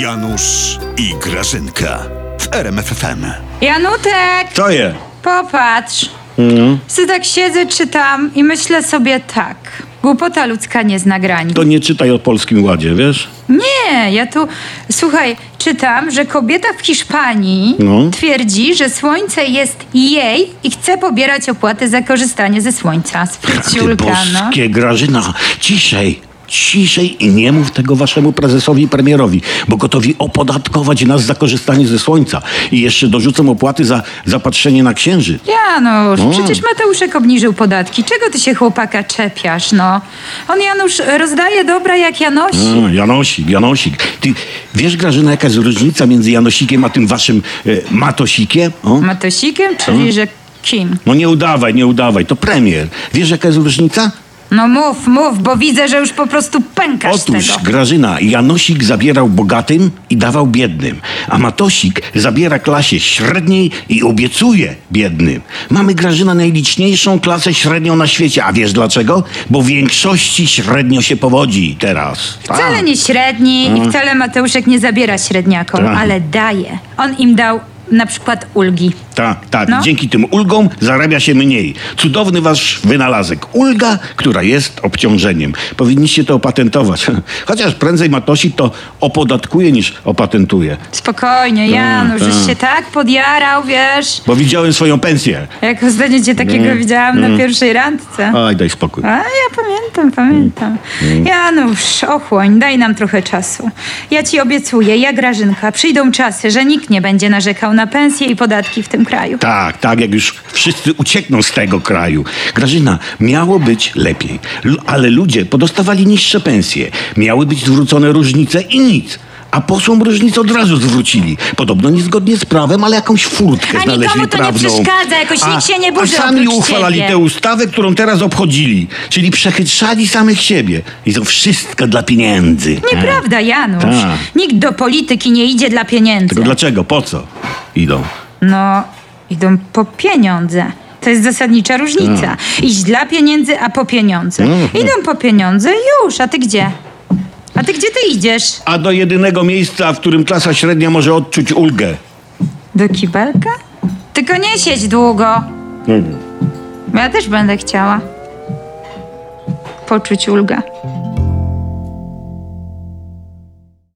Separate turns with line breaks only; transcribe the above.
Janusz i Grażynka w RMFFM.
Janutek,
To je.
popatrz.
No.
Se tak siedzę, czytam i myślę sobie tak. Głupota ludzka nie zna granic.
To nie czytaj o polskim ładzie, wiesz?
Nie, ja tu, słuchaj, czytam, że kobieta w Hiszpanii
No.
twierdzi, że słońce jest jej i chce pobierać opłaty za korzystanie ze słońca. Z
Ty
Fryciulka, no.
boskie, Grażyna, ciszej, ciszej i nie mów tego waszemu prezesowi i premierowi, bo gotowi opodatkować nas za korzystanie ze słońca i jeszcze dorzucą opłaty za zapatrzenie na księżyc.
Janusz,
No.
przecież Mateuszek obniżył podatki. Czego ty się chłopaka czepiasz, no? On, Janusz, rozdaje dobra jak Janosi.
A, Janosik, Janosik. Ty wiesz, Grażyna, jaka jest różnica między Janosikiem a tym waszym e, Matosikiem? O?
Matosikiem, czyli że kim?
No nie udawaj, nie udawaj, to premier. Wiesz, jaka jest różnica?
No mów, mów, bo widzę, że już po prostu pękasz
Otóż,
z tego.
Grażyna, Janosik zabierał bogatym i dawał biednym, a Matosik zabiera klasie średniej i obiecuje biednym. Mamy, Grażyna, najliczniejszą klasę średnią na świecie, a wiesz dlaczego? Bo w większości średnio się powodzi teraz.
Wcale
Tak.
nie średni i wcale Mateuszek nie zabiera średniakom,
Tak.
ale daje. On im dał na przykład ulgi.
Tak, tak.
No.
Dzięki tym ulgom zarabia się mniej. Cudowny wasz wynalazek. Ulga, która jest obciążeniem. Powinniście to opatentować. Chociaż prędzej Matosik to opodatkuje niż opatentuje.
Spokojnie, Janusz,
tak.
żeś się tak podjarał, wiesz.
Bo widziałem swoją pensję.
Jak ostatnio cię takiego widziałam na pierwszej randce.
Oj, daj spokój.
A ja pamiętam, pamiętam.
Mm,
Janusz, ochłoń, daj nam trochę czasu. Ja ci obiecuję, ja Grażynka, przyjdą czasy, że nikt nie będzie narzekał na pensje i podatki w tym kraju.
Tak, tak, jak już wszyscy uciekną z tego kraju. Grażyna, miało być lepiej, Lu- ale ludzie podostawali niższe pensje. Miały być zwrócone różnice i nic. A posłom różnice od razu zwrócili. Podobno niezgodnie z prawem, ale jakąś furtkę
A
znaleźli
nikomu to nie
prawną.
przeszkadza, jakoś
a,
nikt się nie burzy
A sami
oprócz
uchwalali
ciebie.
tę ustawę, którą teraz obchodzili. Czyli przechytrzali samych siebie. I to wszystko dla pieniędzy.
Nieprawda, Janusz.
Tak.
Nikt do polityki nie idzie dla pieniędzy.
Tylko dlaczego? Po co? Idą.
No, idą po pieniądze. To jest zasadnicza różnica.
Tak.
Iść dla pieniędzy, a po pieniądze.
Mhm.
Idą po pieniądze i już, a ty gdzie? A ty gdzie ty idziesz?
A do jedynego miejsca, w którym klasa średnia może odczuć ulgę.
Do kibelka? Tylko nie siedź długo. Ja też będę chciała poczuć ulgę.